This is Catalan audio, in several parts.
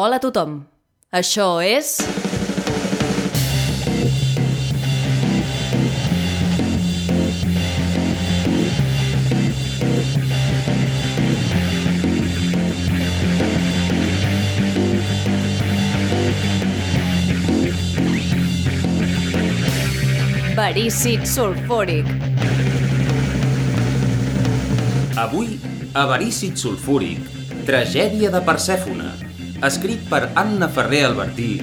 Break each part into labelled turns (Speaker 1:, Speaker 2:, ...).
Speaker 1: Hola a tothom. Això és... Verícid sulfúric.
Speaker 2: Avui, Avarícid sulfúric, tragèdia de Persèfona, escrit per Anna Ferrer Albertí,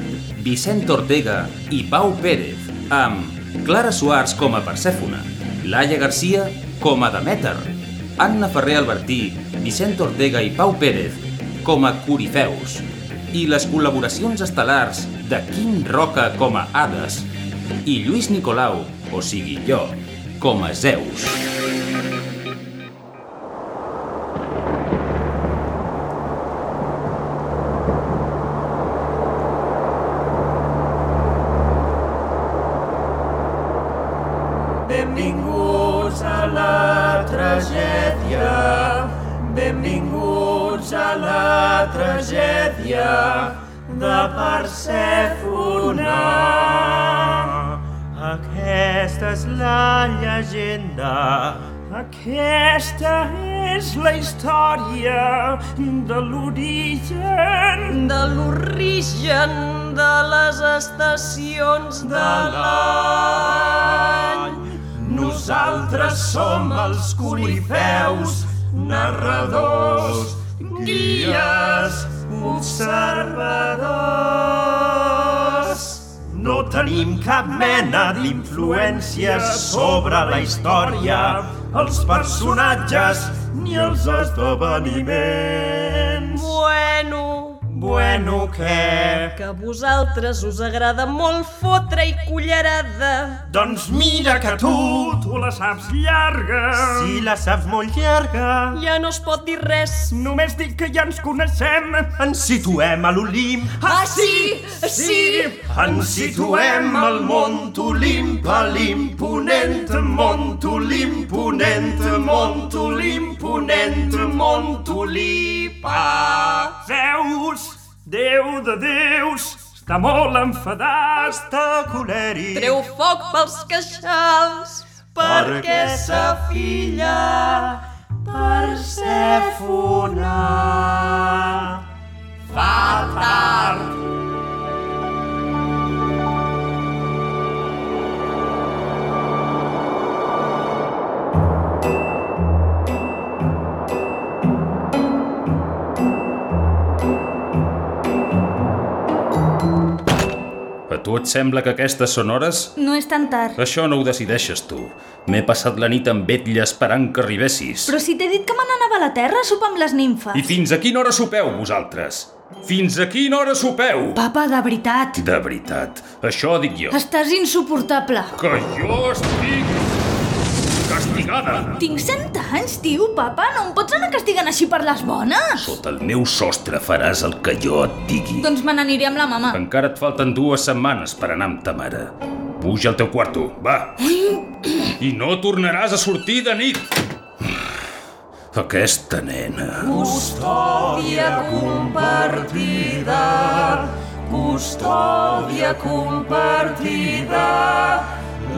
Speaker 2: Vicent Ortega i Pau Pérez, amb Clara Suars com a Persèfona, Laia Garcia com a Demeter, Anna Ferrer Albertí, Vicent Ortega i Pau Pérez com a Corifeus, i les col·laboracions estel·lars de Quim Roca com a Hades i Lluís Nicolau, o sigui jo, com a Zeus.
Speaker 3: Benvinguts a la tragèdia. Benvinguts a la tragèdia de Persèfona. Aquesta és la llegenda. Aquesta és la història de l'origen
Speaker 1: De l'origen de les estacions de l'any.
Speaker 3: Nosaltres som els corifeus, narradors, guies, observadors. No tenim cap mena d'influència sobre la història, els personatges ni els esdeveniments.
Speaker 1: Bueno,
Speaker 3: Bueno, què?
Speaker 1: que a vosaltres us agrada molt fotre i cullerada.
Speaker 3: Doncs mira que tu,
Speaker 4: Tu la saps llarga.
Speaker 3: si la saps molt llarga,
Speaker 1: Ja no es pot dir res.
Speaker 4: Només dic que ja ens coneixem.
Speaker 3: ens situem a l'Olimp
Speaker 1: Ah, sí,
Speaker 3: Ens situem al mont Olimp, a l'imponent mont Olimp, ponent, mont Olimp, ponent, mont Olimpa.
Speaker 4: Zeus, Déu de déus, està molt enfadat.
Speaker 3: Està colèric
Speaker 1: Treu foc pels queixals, perquè sa filla
Speaker 3: per ser fonat. Fa tard.
Speaker 2: A tu et sembla que aquestes són hores?
Speaker 5: No és tan tard.
Speaker 2: Això no ho decideixes tu. M'he passat la nit amb vetlla esperant que arribessis.
Speaker 5: Però si t'he dit que me n'anava a la Terra a sopar amb les nimfes.
Speaker 2: I fins a quina hora sopeu, vosaltres? Fins a quina hora sopeu?
Speaker 5: Papa, de veritat,
Speaker 2: De veritat, això dic jo.
Speaker 5: estàs insuportable.
Speaker 2: Que jo estic... castigada.
Speaker 5: Tinc 100 anys, tio, papa, no em pots anar castigant així per les bones.
Speaker 2: Sota el meu sostre faràs el que jo et digui.
Speaker 5: Doncs me n'aniré amb la mama.
Speaker 2: Encara et falten dues setmanes per anar amb ta mare. Puja al teu quarto, va. I no tornaràs a sortir de nit. Aquesta nena...
Speaker 1: custòdia compartida.
Speaker 3: Custòdia compartida,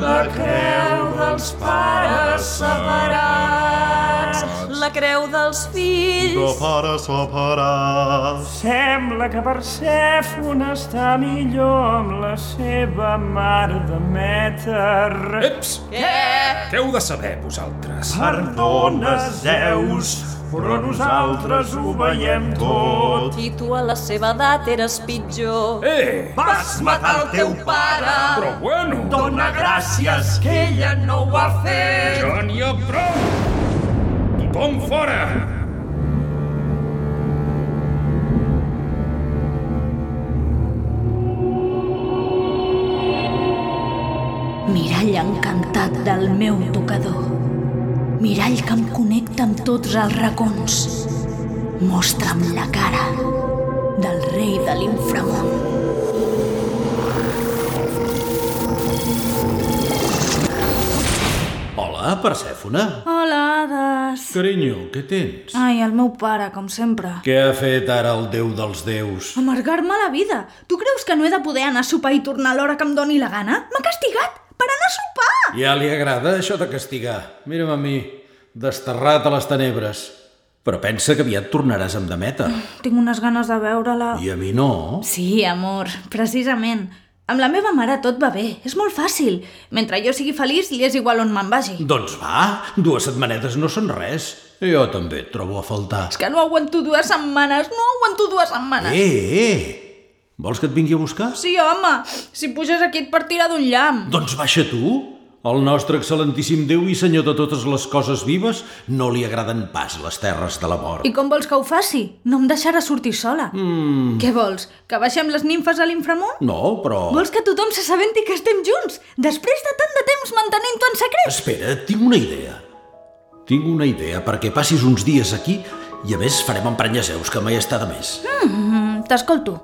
Speaker 3: la creu dels pares separats.
Speaker 1: La creu dels fills,
Speaker 3: pares separats.
Speaker 4: Sembla que Persèfona està millor amb la seva mare de Mèter.
Speaker 2: Eps! Què heu de saber, vosaltres?
Speaker 3: Perdona, Zeus,
Speaker 4: Però nosaltres ho veiem tot.
Speaker 1: i tu a la seva edat eres pitjor.
Speaker 2: Eh!
Speaker 3: vas matar el teu pare.
Speaker 2: Però bueno!
Speaker 3: Dona gràcies que ella no ho ha fet.
Speaker 2: Ja n'hi ha prou! Tothom fora!
Speaker 5: Mirall encantat del meu tocador. Mirall que em connecta amb tots els racons. Mostra'm la cara del rei de l'inframont.
Speaker 2: Hola,
Speaker 6: Hola, Persèfona.
Speaker 5: Hola, Hades.
Speaker 6: Carinyo, què tens?
Speaker 5: Ai, el meu pare, com sempre.
Speaker 6: Què ha fet ara el déu dels déus?
Speaker 5: Amargar-me la vida. Tu creus que no he de poder anar a sopar i tornar a l'hora que em doni la gana? M'ha castigat per anar a sopar!
Speaker 6: Ja li agrada això de castigar. Mira'm a mi, desterrat a les tenebres. Però pensa que aviat tornaràs amb Demeter.
Speaker 5: Tinc unes ganes de veure-la.
Speaker 6: I a mi no.
Speaker 5: Sí, amor, precisament. Amb la meva mare tot va bé, és molt fàcil. Mentre jo sigui feliç, li és igual on me'n vagi.
Speaker 6: Doncs va, dues setmanetes no són res. Jo també et trobo a faltar.
Speaker 5: És que no aguanto dues setmanes, no aguanto dues setmanes.
Speaker 6: Eh, eh! Vols que et vingui a buscar?
Speaker 5: Sí, home, si puges aquí et partirà d'un llamp.
Speaker 6: Doncs baixa tu. El nostre excel·lentíssim Déu i Senyor de totes les coses vives no li agraden pas les terres de la mort.
Speaker 5: I com vols que ho faci? No em deixarà sortir sola. Mm. Què vols? Que baixem les nimfes a l'inframunt?
Speaker 6: No, però...
Speaker 5: Vols que tothom se sabenti que estem junts? Després de tant de temps mantenint-ho en secret?
Speaker 6: Espera, tinc una idea. Tinc una idea perquè passis uns dies aquí i a més farem emprenyaseus, que mai està de més.
Speaker 5: Mm, T'escolto.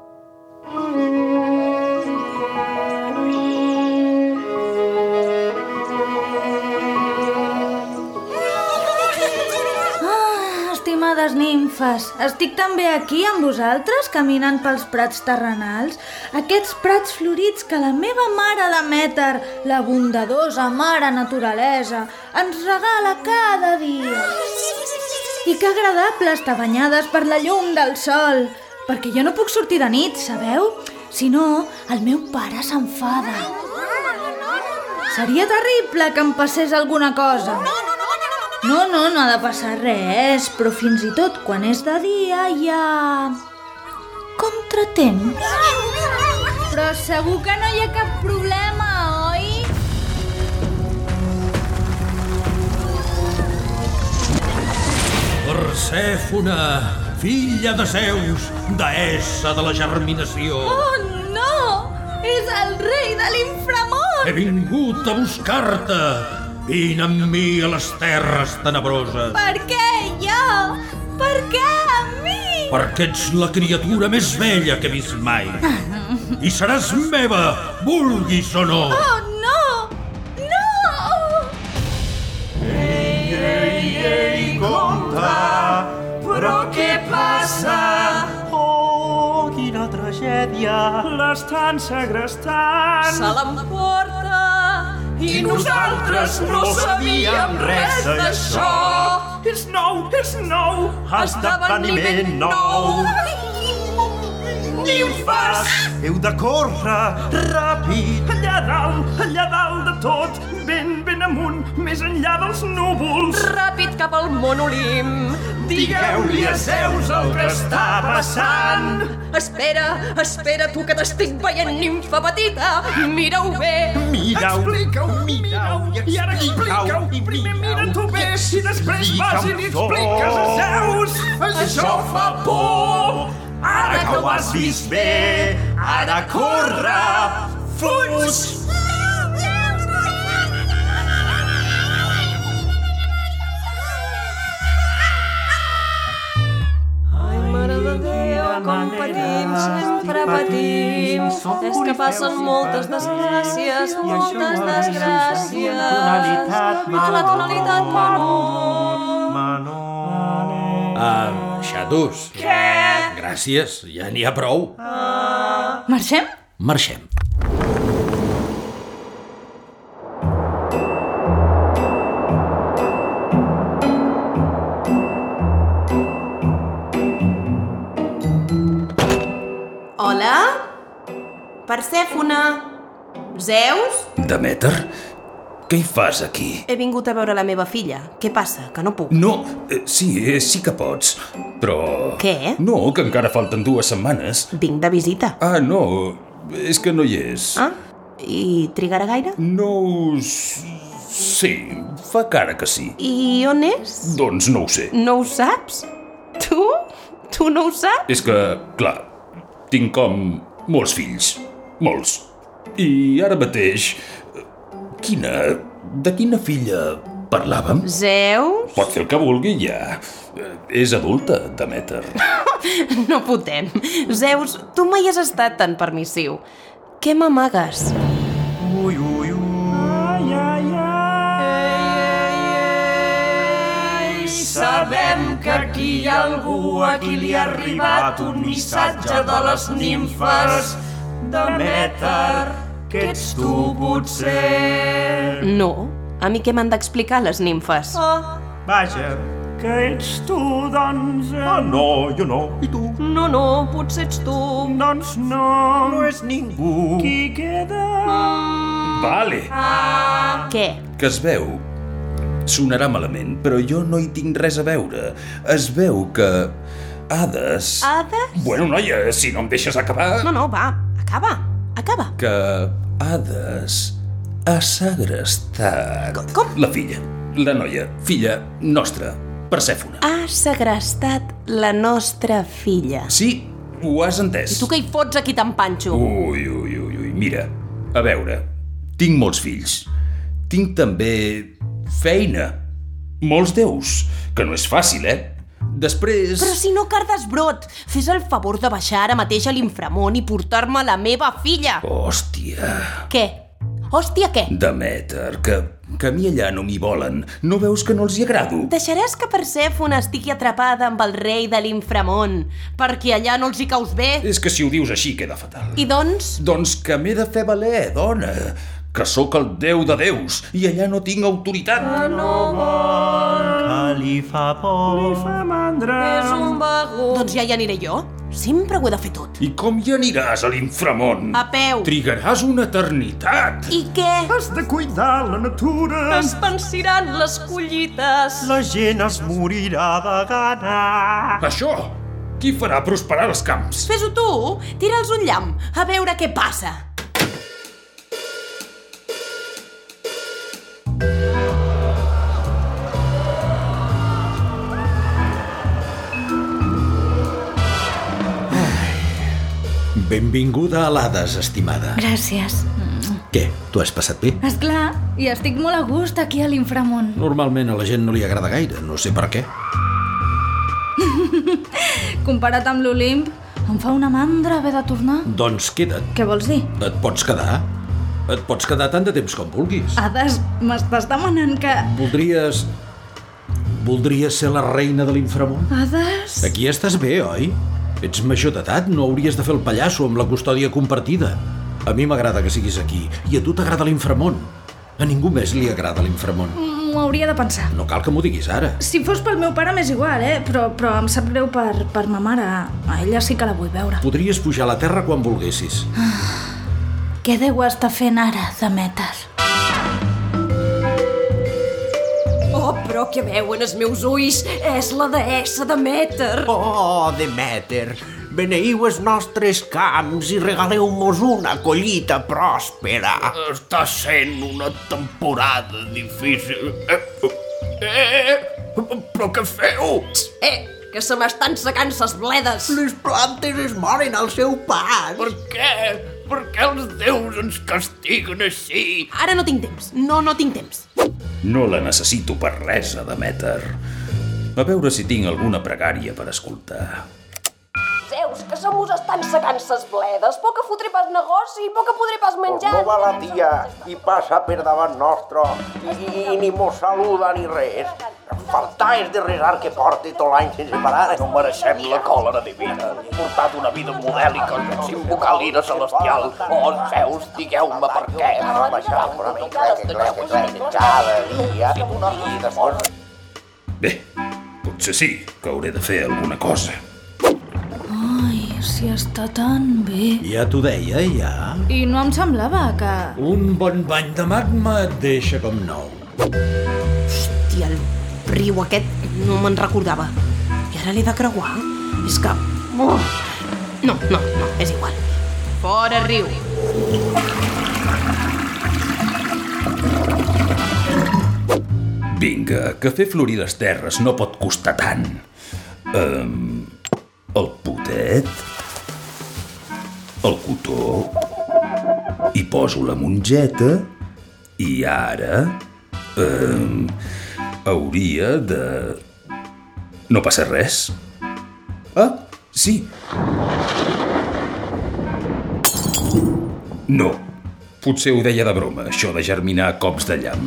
Speaker 5: Ah, estimades nimfes, estic també aquí amb vosaltres caminant pels prats terrenals, aquests prats florits que la meva mare Demeter, la bondadosa mare naturalesa, ens regala cada dia. I que agradable estar banyades per la llum del sol, perquè jo no puc sortir de nit, sabeu? Si no, el meu pare s'enfada. Seria terrible que em passés alguna cosa. No, no, no ha de passar res, però fins i tot quan és de dia hi ha... contratemps. Però segur que no hi ha cap problema, oi?
Speaker 6: Persèfona, filla de Zeus, deessa de la germinació,
Speaker 5: Oh, no! És el rei de l'inframont!
Speaker 6: he vingut a buscar-te. Vine amb mi a les terres tenebroses,
Speaker 5: Per què jo? Per què a mi?
Speaker 6: perquè ets la criatura més vella que he vist mai. I seràs meva, vulguis o no.
Speaker 5: Oh, no! No!
Speaker 3: Compte, però què passa?
Speaker 7: Oh, quina tragèdia! L'estan segrestant!
Speaker 1: Se l'emporta
Speaker 3: I nosaltres no sabíem res d'això.
Speaker 7: És nou, és nou!
Speaker 3: Esdeveniment nou. Nimfes, heu de córrer ràpid.
Speaker 7: Allà dalt, allà dalt de tot, ben, ben amunt, més enllà dels núvols.
Speaker 1: Ràpid cap al món Olim.
Speaker 3: Digueu-li a Zeus el que està passant.
Speaker 1: Espera, espera, tu que t'estic veient, nimfa petita. Mira-ho bé.
Speaker 3: Mireu,
Speaker 7: Explica-ho, mira-ho, i ara explica-ho, i primer mira tu bé, i després vas i li expliques a Zeus.
Speaker 3: Això fa por. Ara que ho has vist bé, ara corre. Fuig!
Speaker 1: Ai, mare de Déu, com patim, sempre patim. És que passen moltes desgràcies, moltes desgràcies. A la tonalitat, Manon.
Speaker 6: Ah, xatos. Què? Gràcies, ja n'hi ha prou.
Speaker 5: Marxem?
Speaker 6: Marxem.
Speaker 8: Hola? Persèfona? Zeus?
Speaker 6: Demeter, què hi fas aquí?
Speaker 8: He vingut a veure la meva filla. Què passa? Que no puc.
Speaker 2: No, eh, sí, eh, sí que pots, però...
Speaker 8: Què?
Speaker 2: No, que encara falten dues setmanes.
Speaker 8: Vinc de visita.
Speaker 2: Ah, no, és que no hi és.
Speaker 8: Ah? I trigarà gaire?
Speaker 2: No ho... s- Sí, fa cara que sí.
Speaker 8: I on és?
Speaker 2: Doncs no ho sé.
Speaker 8: No ho saps? Tu? Tu no ho saps?
Speaker 2: És que, clar, tinc com molts fills. Molts. I ara mateix... eh, Quina... De quina filla parlàvem?
Speaker 8: Zeus?
Speaker 2: Pot fer el que vulgui, ja. Eh, És adulta, Demeter.
Speaker 8: No fotem. Zeus, tu mai has estat tan permissiu. Què m'amagues?
Speaker 7: Ai, ai, ai,
Speaker 1: Ei, ei,
Speaker 3: Sabem que aquí hi ha algú a qui li ha arribat un missatge de les nimfes de Mèter, que ets tu, potser.
Speaker 1: No, a mi què m'han d'explicar les nimfes?
Speaker 9: Oh,
Speaker 3: Vaja, que ets tu, doncs...
Speaker 9: Oh,
Speaker 7: Ah, no, jo no. I tu?
Speaker 9: No, no, potser ets tu.
Speaker 3: Doncs no.
Speaker 7: No és ningú.
Speaker 3: Qui queda?
Speaker 2: Uh. Vale,
Speaker 1: Què?
Speaker 2: que es veu... Sonarà malament, però jo no hi tinc res a veure. Es veu que... Hades...
Speaker 1: Hades?
Speaker 2: Bueno, noia, si no em deixes acabar...
Speaker 1: No, no, va, acaba, acaba.
Speaker 2: Que Hades ha segrestat...
Speaker 1: Com?
Speaker 2: La filla, la noia, filla nostra, Persèfona.
Speaker 1: Ha segrestat la nostra filla.
Speaker 2: Sí, ho has entès.
Speaker 1: Tu què hi fots aquí tan panxo?
Speaker 2: Ui, ui, ui, ui, mira, a veure, tinc molts fills. Tinc també feina. Molts déus, que no és fàcil, eh? Després...
Speaker 1: Però si no cardes brot, fes el favor de baixar ara mateix a l'inframont i portar-me la meva filla.
Speaker 2: Hòstia,
Speaker 1: Què? Hòstia, què?
Speaker 2: Demeter, que, que a mi allà no m'hi volen. No veus que no els hi agrado?
Speaker 1: Deixaràs que Persèfona estigui atrapada amb el rei de l'inframont, perquè allà no els hi caus bé?
Speaker 2: És que si ho dius així queda fatal.
Speaker 1: I doncs,
Speaker 2: Doncs que m'he de fer valer, dona, que sóc el déu de déus i allà no tinc autoritat.
Speaker 1: Ah,
Speaker 7: Que li fa por. Li fa...
Speaker 3: Mandra.
Speaker 9: És un vago.
Speaker 1: doncs ja hi aniré jo. Sempre ho he de fer tot.
Speaker 2: I com hi aniràs a l'inframont?
Speaker 1: A peu.
Speaker 2: Trigaràs una eternitat.
Speaker 1: Ah. I què?
Speaker 7: Has de cuidar la natura.
Speaker 9: Es pensiran les collites.
Speaker 7: La gent es morirà de gana.
Speaker 2: Això! Qui farà prosperar els camps?
Speaker 1: Fes-ho tu, tira'ls un llamp, a veure què passa.
Speaker 6: Benvinguda a l'Hades, estimada.
Speaker 5: Gràcies.
Speaker 6: Què, t'ho has passat bé?
Speaker 5: És clar, i estic molt a gust aquí a l'inframont.
Speaker 6: Normalment a la gent no li agrada gaire, no sé per què.
Speaker 5: Comparat amb l'Olimp, em fa una mandra haver de tornar.
Speaker 6: Doncs queda't.
Speaker 5: Què vols dir?
Speaker 6: Et pots quedar? Et pots quedar tant de temps com vulguis.
Speaker 5: Hades, m'estàs demanant que...
Speaker 6: Voldries... Voldries ser la reina de l'inframont?
Speaker 5: Hades?
Speaker 6: Aquí estàs bé, oi? Ets major d'edat, no hauries de fer el pallasso amb la custòdia compartida. A mi m'agrada que siguis aquí, i a tu t'agrada l'inframont. A ningú més li agrada l'inframont.
Speaker 5: M'ho hauria de pensar.
Speaker 6: No cal que m'ho diguis ara.
Speaker 5: Si fos pel meu pare m'és igual, eh? Però, però em sap greu per, per ma mare. A ella sí que la vull veure.
Speaker 6: Podries pujar a la terra quan volguessis.
Speaker 10: Què deu estar fent ara, Demeter?
Speaker 9: Oh, però què veuen els meus ulls? És la deessa de Mèter.
Speaker 11: Oh, Demeter, beneiu els nostres camps i regaleu-nos una collita pròspera.
Speaker 12: Està sent una temporada difícil. Eh, eh, però què feu?
Speaker 9: Eh, que se m'estan secant ses bledes.
Speaker 11: Les plantes es moren al seu pas.
Speaker 12: Per què? Per què els déus ens castiguen així?
Speaker 1: Ara no tinc temps. No, no tinc temps.
Speaker 2: No la necessito per res, Demeter. A veure si tinc alguna pregària per escoltar.
Speaker 9: Zeus, que se m'us estan secant ses bledes. Poc que fotré pas negoci, poc que podré pas menjar.
Speaker 11: No va la tia i passa per davant nostre i, i, i ni mos saluda ni res. Faltar és de resar que porti tot l'any sense parar.
Speaker 12: No mereixem la còlera divina. He portat una vida modèlica sense invocar l'ira celestial. Oh, Zeus, digueu-me per què.
Speaker 11: Ara baixarem una mica, que clar que clar, que cada dia una vida molt...
Speaker 2: Bé, potser sí que hauré de fer alguna cosa.
Speaker 5: Ai, si està tan bé.
Speaker 6: Ja t'ho deia, ja.
Speaker 5: I no em semblava que...
Speaker 6: Un bon bany de magma et deixa com nou.
Speaker 1: Hòstia, el riu aquest no me'n recordava. I ara l'he de creuar? És que... Oh. No, no, no, és igual. Fora riu.
Speaker 2: Vinga, que fer florir les terres no pot costar tant. Um, el potet... El cotó... Hi poso la mongeta... I ara... Um, hauria de... No passa res. Ah, sí. No. Potser ho deia de broma, això de germinar cops de llamp.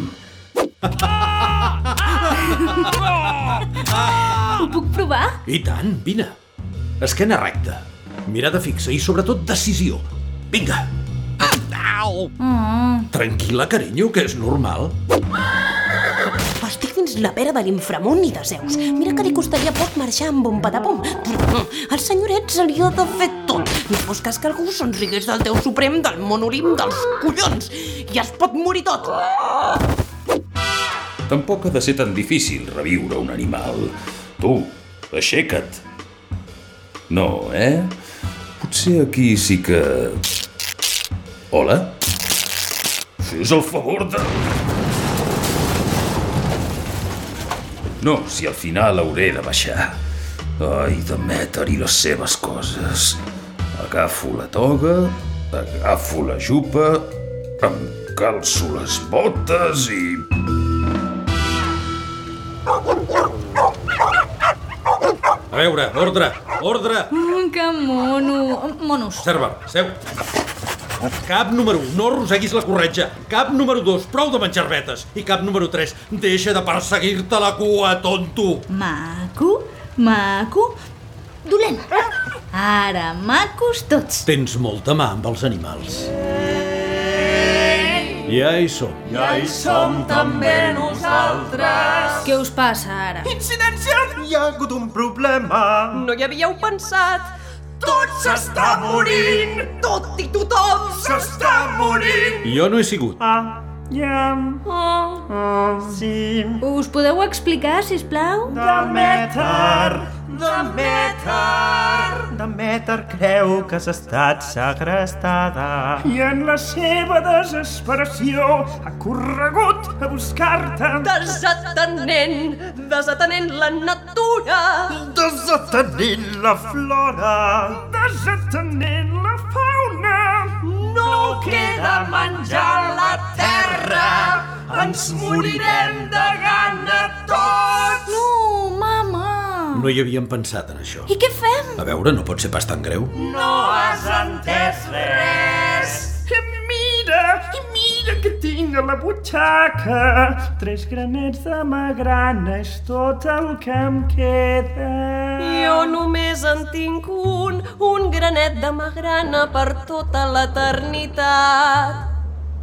Speaker 13: Ho puc provar?
Speaker 6: I tant, vine. Esquena recta, mirada fixa i sobretot decisió. Vinga. Au!
Speaker 13: Mm.
Speaker 6: Tranquil·la, carinyo, que és normal.
Speaker 8: Però estic dins la pera de l'inframunt i de Zeus. Mira que li costaria poc marxar amb un patapum. El senyoret se li ha de fer tot. No fos cas que algú s'enrigués del Déu Suprem del monolim dels collons. I es pot morir tot.
Speaker 2: Tampoc ha de ser tan difícil reviure un animal. Tu, aixeca't. No, eh? Potser aquí sí que... Hola? Fes el favor de... No, si al final hauré de baixar. Ai, Demeter i les seves coses. Agafo la toga, agafo la jupa, em calço les botes i...
Speaker 6: A veure, ordre, ordre!
Speaker 13: Mm, que mono. Monos.
Speaker 6: Serva, seu. Cap número 1, no roseguis la corretja. Cap número 2, prou de menjar vetes. I cap número 3, deixa de perseguir-te la cua, tonto.
Speaker 13: Maco, maco, dolent. Ara, macos tots.
Speaker 6: Tens molta mà amb els animals. Ja hi som.
Speaker 3: Ja hi som també nosaltres.
Speaker 13: Què us passa ara?
Speaker 3: Incidència! Hi ha hagut un problema.
Speaker 1: No hi havíeu pensat. Tot s'està
Speaker 3: morint.
Speaker 1: Tot i tothom s'està morint.
Speaker 6: Jo no he sigut.
Speaker 7: Ah, ja.
Speaker 13: Oh.
Speaker 7: Ah, sí.
Speaker 13: Us podeu explicar, si us plau?
Speaker 7: Demeter, Demeter. Demeter creu que has estat segrestada. I en la seva desesperació ha corregut a buscar-te.
Speaker 1: Desatenent, desatenent la natura.
Speaker 7: Desatenent la flora. Desatenent la fauna. No queda menjar a la terra. Ens morirem de gana tots.
Speaker 13: No, mama.
Speaker 6: No hi havíem pensat en això.
Speaker 13: I què fem?
Speaker 6: A veure, no pot ser pas tan greu.
Speaker 7: No has entès res. Mira, i mira que tinc a la butxaca. Tres granets de magrana és tot el que em queda.
Speaker 1: Jo només en tinc un, un granet de magrana per tota l'eternitat.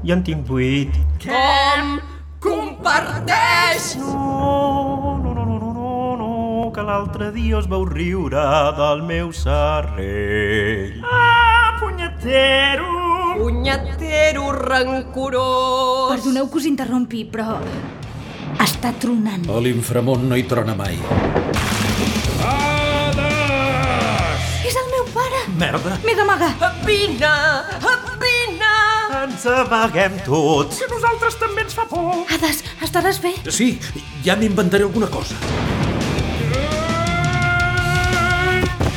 Speaker 7: Jo en tinc vuit.
Speaker 1: Com? Comparteix!
Speaker 7: No, no, no, no, no, no, no, que l'altre dia us vau riure del meu serrell. Ah, punyetero!
Speaker 1: Punyetero rancorós!
Speaker 13: Perdoneu que us interrompi, però... Està tronant.
Speaker 6: A l'inframont no hi trona mai.
Speaker 13: És el meu pare!
Speaker 6: Merda!
Speaker 13: M'he d'amagar!
Speaker 1: Vine! Vine!
Speaker 7: Ens amaguem tots.
Speaker 13: Que nosaltres també ens fa por! Hades, estaràs bé?
Speaker 6: Sí, ja m'inventaré alguna cosa.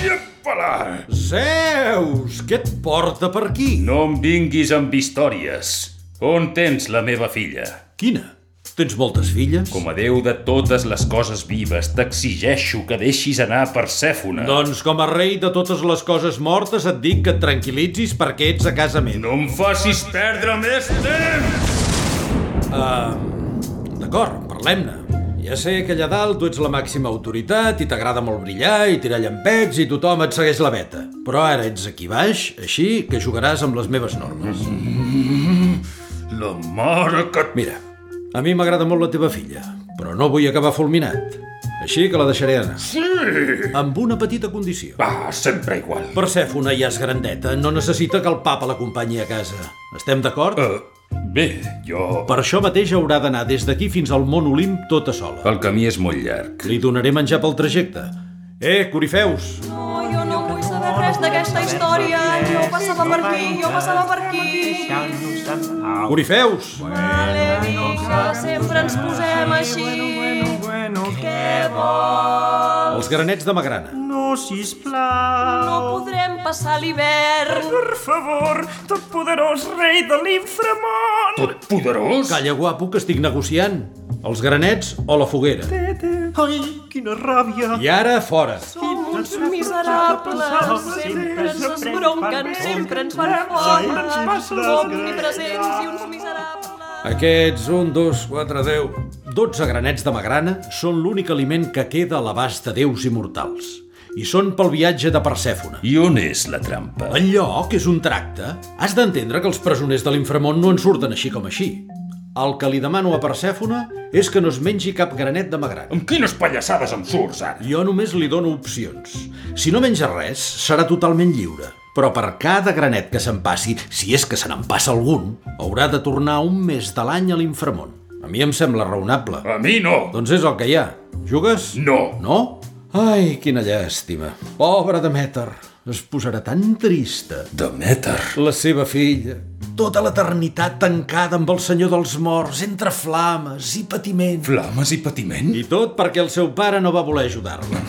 Speaker 2: Iapala!
Speaker 6: Zeus, què et porta per aquí?
Speaker 2: No em vinguis amb històries. On tens la meva filla?
Speaker 6: Quina? Tens moltes filles?
Speaker 2: Com a déu de totes les coses vives, t'exigeixo que deixis anar Persèfona.
Speaker 6: Doncs com a rei de totes les coses mortes et dic que et tranquil·litzis perquè ets a casa meva.
Speaker 2: No em facis perdre més temps!
Speaker 6: Uh, D'acord, parlem-ne. Ja sé que allà dalt tu ets la màxima autoritat i t'agrada molt brillar i tirar llampecs i tothom et segueix la veta. Però ara ets aquí baix, així que jugaràs amb les meves normes.
Speaker 2: Mm-hmm. La mare que...
Speaker 6: Mira, a mi m'agrada molt la teva filla, però no vull acabar fulminat. Així que la deixaré anar.
Speaker 2: Sí!
Speaker 6: Amb una petita condició.
Speaker 2: Ah, sempre igual.
Speaker 6: Persèfona ja és grandeta, no necessita que el papa l'acompanyi a casa. Estem d'acord?
Speaker 2: Uh, bé, jo...
Speaker 6: Per això mateix haurà d'anar des d'aquí fins al Mont Olimp tota sola.
Speaker 2: El camí és molt llarg.
Speaker 6: Li donaré menjar pel trajecte. Eh, corifeus!
Speaker 1: No, jo no vull saber res d'aquesta història. Jo passava per aquí, jo passava per aquí.
Speaker 6: Corifeus!
Speaker 1: Vale, vinga, sempre ens posem així.
Speaker 7: Què vols?
Speaker 6: Els granets de magrana.
Speaker 7: No, sisplau.
Speaker 1: No podrem passar l'hivern.
Speaker 7: Per favor, tot poderós rei de l'inframont.
Speaker 2: Tot poderós?
Speaker 6: Calla, guapo, que estic negociant. Els granets o la foguera.
Speaker 7: Ai, quina ràbia.
Speaker 6: I ara, fora.
Speaker 1: Som uns miserables, sempre ens esbronquen, sempre ens fan fora.
Speaker 7: Sempre ens passen les
Speaker 1: Som omnipresents i uns miserables.
Speaker 6: Aquests 1, 2, 4, 10... 12 granets de magrana són l'únic aliment que queda a l'abast de déus immortals i són pel viatge de Persèfona.
Speaker 2: I on és la trampa?
Speaker 6: El lloc és un tracte. Has d'entendre que els presoners de l'inframont no en surten així com així. El que li demano a Persèfona és que no es mengi cap granet de magrana.
Speaker 2: Amb quines pallassades em surts, ara?
Speaker 6: Jo només li dono opcions. Si no menja res, serà totalment lliure. Però per cada granet que se'n passi, si és que se n'en passa algun, haurà de tornar un mes de l'any a l'inframont. A mi em sembla raonable.
Speaker 2: A mi no!
Speaker 6: Doncs és el que hi ha. Jugues?
Speaker 2: No.
Speaker 6: No? Ai, quina llàstima. Pobra Demèter. Es posarà tan trista.
Speaker 2: Demèter?
Speaker 6: La seva filla. Tota l'eternitat tancada amb el senyor dels morts, entre flames i patiment.
Speaker 2: Flames i patiment?
Speaker 6: I tot perquè el seu pare no va voler ajudar-la.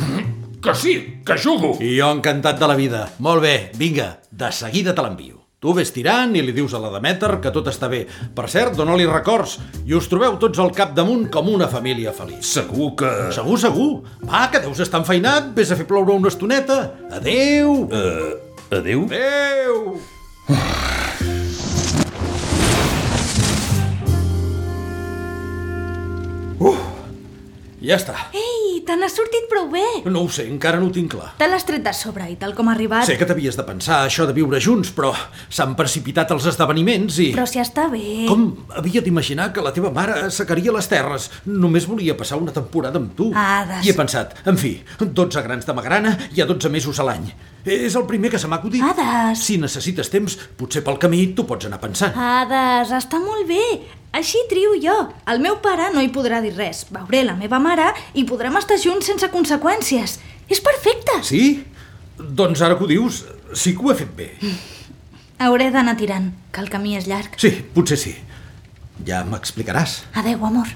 Speaker 2: Que sí, que jugo!
Speaker 6: I jo encantat de la vida. Molt bé, vinga, de seguida te l'envio. Tu ves tirant i li dius a la Demèter que tot està bé. Per cert, dona-li records i us trobeu tots al capdamunt com una família feliç.
Speaker 2: Segur que...
Speaker 6: Segur, segur. Va, que deus estar enfeinat. Ves a fer ploure una estoneta. Adeu.
Speaker 2: Uh, adeu?
Speaker 6: Adeu. Uh, ja està.
Speaker 5: Ei, te n'has sortit prou bé.
Speaker 6: No ho sé, encara no ho tinc clar.
Speaker 5: Te l'has tret de sobre i tal com ha arribat...
Speaker 6: Sé que t'havies de pensar això de viure junts, però s'han precipitat els esdeveniments i...
Speaker 5: Però si està bé...
Speaker 6: Com havia d'imaginar que la teva mare secaria les terres? Només volia passar una temporada amb tu.
Speaker 5: Ha de
Speaker 6: I he
Speaker 5: ser.
Speaker 6: pensat, en fi, 12 grans de magrana i a 12 mesos a l'any. És el primer que se m'ha acudit.
Speaker 5: Hades.
Speaker 6: Si necessites temps, potser pel camí tu pots anar
Speaker 5: Ah.
Speaker 6: pensant.
Speaker 5: Hades, està molt bé. Així trio jo. El meu pare no hi podrà dir res. Veuré la meva mare i podrem estar junts sense conseqüències. És perfecte.
Speaker 6: Sí? Doncs ara que ho dius, sí que ho he fet bé.
Speaker 5: Hauré d'anar tirant, que el camí és llarg.
Speaker 6: Sí, potser sí. Ja m'explicaràs.
Speaker 5: Adeu, amor.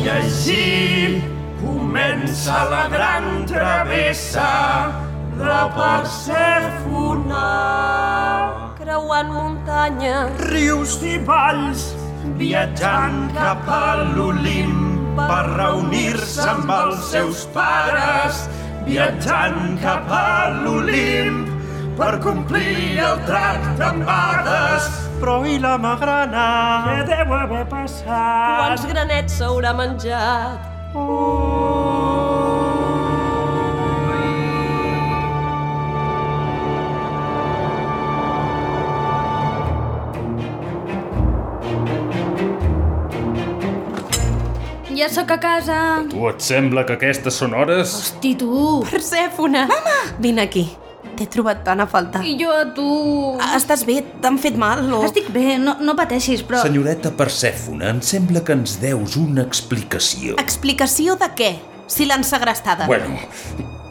Speaker 7: I així comença la gran travessa de Persèfona.
Speaker 1: Creuant muntanyes,
Speaker 7: Rius i valls viatjant cap a l'Olimp per reunir-se amb els seus pares, viatjant cap a l'Olimp per complir el tracte amb Hades. Però i la magrana?
Speaker 3: Què deu haver passat?
Speaker 1: quants granets s'haurà menjat?
Speaker 5: Ja sóc a casa.
Speaker 2: Tu et sembla que aquestes són hores?
Speaker 5: Hosti, tu.
Speaker 8: Persèfona! Mama! Vine aquí. T'he trobat tant a faltar.
Speaker 5: I jo a tu.
Speaker 8: Estàs bé? T'han fet mal o...?
Speaker 5: Ah, Estic bé, no, no pateixis, però...
Speaker 2: Senyoreta Persèfona, em sembla que ens deus una explicació.
Speaker 8: Explicació de què? Si l'han segrestada.
Speaker 2: Bueno,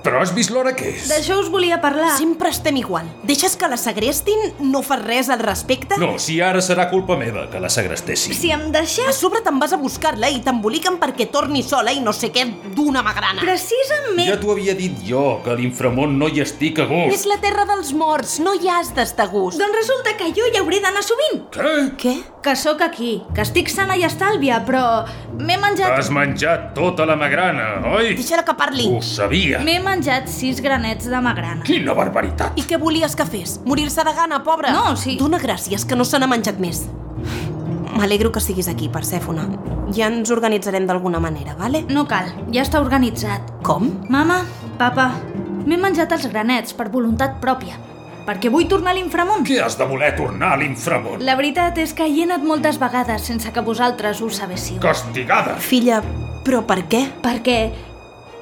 Speaker 2: però has vist l'hora que és?
Speaker 5: D'això us volia parlar.
Speaker 8: Sempre estem igual. Deixes que la segrestin, no fas res al respecte...
Speaker 2: No, si ara serà culpa meva que la segrestessin.
Speaker 5: Si em
Speaker 8: A
Speaker 5: deixes...
Speaker 8: sobre te'n vas a buscar-la i t'emboliquen perquè torni sola i no sé què d'una magrana.
Speaker 5: Precisament...
Speaker 2: Ja t'ho havia dit jo, que a l'inframont no hi estic a
Speaker 8: És
Speaker 2: gust.
Speaker 8: la terra dels morts, no hi has d'estar a gust.
Speaker 5: Doncs resulta que jo hi hauré d'anar sovint.
Speaker 2: Què?
Speaker 8: Què?
Speaker 5: Que sóc aquí, que estic sana i estàlvia, però m'he menjat...
Speaker 2: T'has menjat tota la magrana, oi?
Speaker 8: Deixa-la que parli.
Speaker 2: Ho sabia.
Speaker 5: M'he menjat sis granets de magrana.
Speaker 2: Quina barbaritat.
Speaker 8: I què volies que fes? Morir-se de gana, pobra?
Speaker 5: No, sí.
Speaker 8: Dóna gràcies que no se n'ha menjat més. M'alegro que siguis aquí, Persèfona. Ja ens organitzarem d'alguna manera, vale?
Speaker 5: No cal, ja està organitzat.
Speaker 8: Com?
Speaker 5: Mama, papa, m'he menjat els granets per voluntat pròpia, perquè vull tornar a l'inframont.
Speaker 2: Què has de voler tornar a l'inframont?
Speaker 5: La veritat és que hi he anat moltes vegades sense que vosaltres ho sabéssiu.
Speaker 2: Castigada.
Speaker 8: Filla, però per què?
Speaker 5: Perquè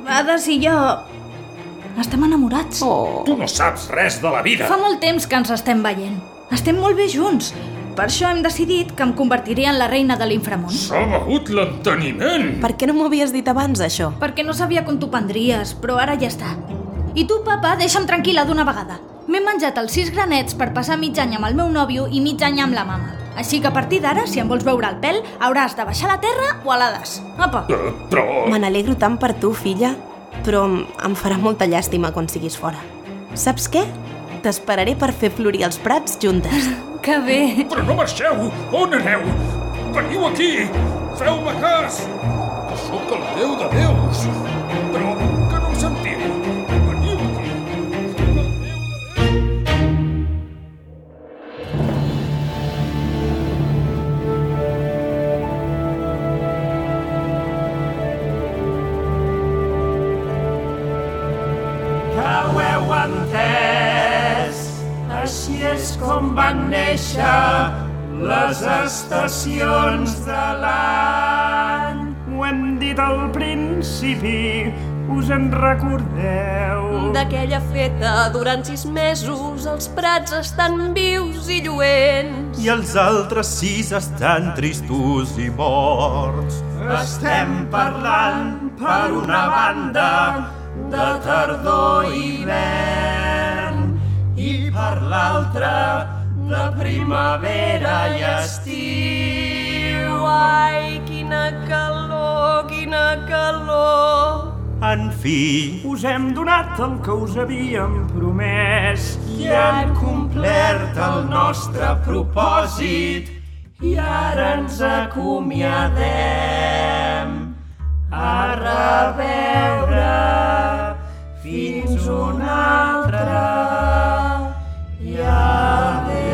Speaker 5: Hades i jo estem enamorats.
Speaker 8: Oh.
Speaker 2: Tu no saps res de la vida.
Speaker 5: Fa molt temps que ens estem veient. Estem molt bé junts. Per això hem decidit que em convertiria en la reina de l'inframont.
Speaker 2: S'ha begut l'enteniment.
Speaker 8: Per què no m'ho havies dit abans, això?
Speaker 5: Perquè no sabia com t'ho prendries, però ara ja està. I tu, papa, deixa'm tranquil·la d'una vegada. M'he menjat els sis granets per passar mig any amb el meu nòvio i mig any amb la mama. Així que a partir d'ara, si em vols veure el pèl, hauràs de baixar a la terra o a l'Hades. Apa!
Speaker 2: Eh, Però...
Speaker 8: Me n'alegro tant per tu, filla, però em- em farà molta llàstima quan siguis fora. Saps què? T'esperaré per fer florir els prats juntes.
Speaker 5: Que bé!
Speaker 2: Però no marxeu! On aneu? Veniu aquí! Feu-me cas! que sóc el déu de déus. Però que no em sentiu. Veniu aquí.
Speaker 7: que ho heu entès. Així és com van néixer les estacions de l'any.
Speaker 3: Ho hem dit al principi, us en recordeu.
Speaker 14: D'aquella feta, durant sis mesos, els prats estan vius i lluents.
Speaker 15: I els altres sis estan tristos i morts.
Speaker 7: Estem parlant, per una banda, de tardor i hivern i per l'altra de primavera i estiu.
Speaker 14: Ai, quina calor, quina calor.
Speaker 15: En fi,
Speaker 3: Us hem donat el que us havíem promès.
Speaker 7: I han complert el nostre propòsit i ara ens acomiadem. A reveure fins una altra i adéu.